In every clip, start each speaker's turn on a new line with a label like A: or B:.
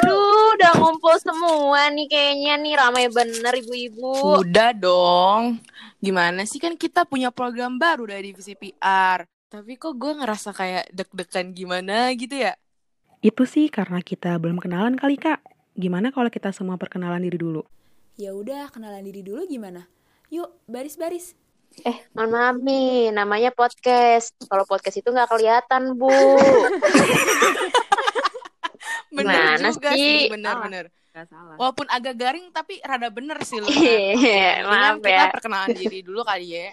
A: Aduh, udah ngumpul semua nih kayaknya nih ramai bener ibu-ibu.
B: Udah dong. Gimana sih kan kita punya program baru dari divisi PR. Tapi kok gue ngerasa kayak deg-degan gimana gitu ya?
C: Itu sih karena kita belum kenalan kali kak. Gimana kalau kita semua perkenalan diri dulu?
D: Ya udah, kenalan diri dulu gimana? Yuk, baris-baris.
A: Mohon maaf nih, namanya podcast. Kalau podcast itu nggak kelihatan bu.
B: Bener
A: Gimana
B: juga
A: sih?
B: sih, bener-bener.
C: Gak salah.
B: Walaupun agag garing tapi rada bener sih lu.
A: Iya,
B: Mendingan
A: maaf ya.
B: Kita perkenalan diri dulu kali ya.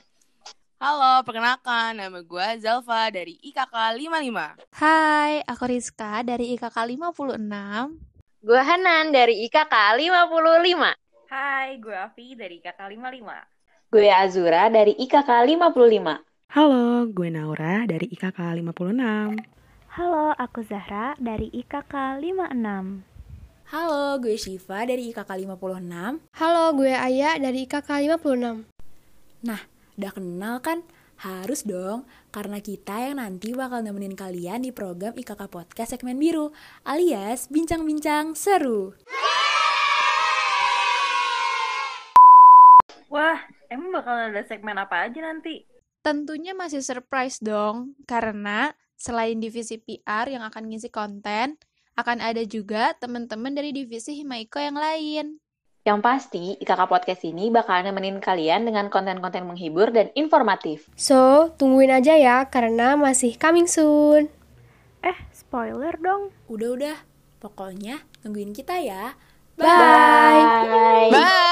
B: Halo, perkenalkan nama gue Zalfa dari IKK 55.
E: Hai, aku Rizka dari IKK 56.
A: Gue Hanan dari IKK 55.
F: Hai, gue Avi dari Kakak 55.
G: Gue Azura dari IKK 55.
C: Halo, gue Naura dari IKK 56.
H: Halo, aku Zahra dari IKK 56.
D: Halo, gue Shiva dari IKK 56.
I: Halo, gue Aya dari IKK 56.
D: Udah kenal kan? Harus dong, karena kita yang nanti bakal nemenin kalian di program IKK Podcast segmen biru, alias bincang-bincang seru.
F: Wah, emang bakal ada segmen apa aja nanti?
E: Tentunya masih surprise dong, karena selain divisi PR yang akan ngisi konten, akan ada juga teman-teman dari divisi Himaiko yang lain.
G: Yang pasti, IKK Podcast ini bakal nemenin kalian dengan konten-konten menghibur dan informatif.
I: So, tungguin aja ya karena masih coming soon.
H: Eh, spoiler dong.
D: Udah-udah, pokoknya nungguin kita ya.
G: Bye!
B: Bye.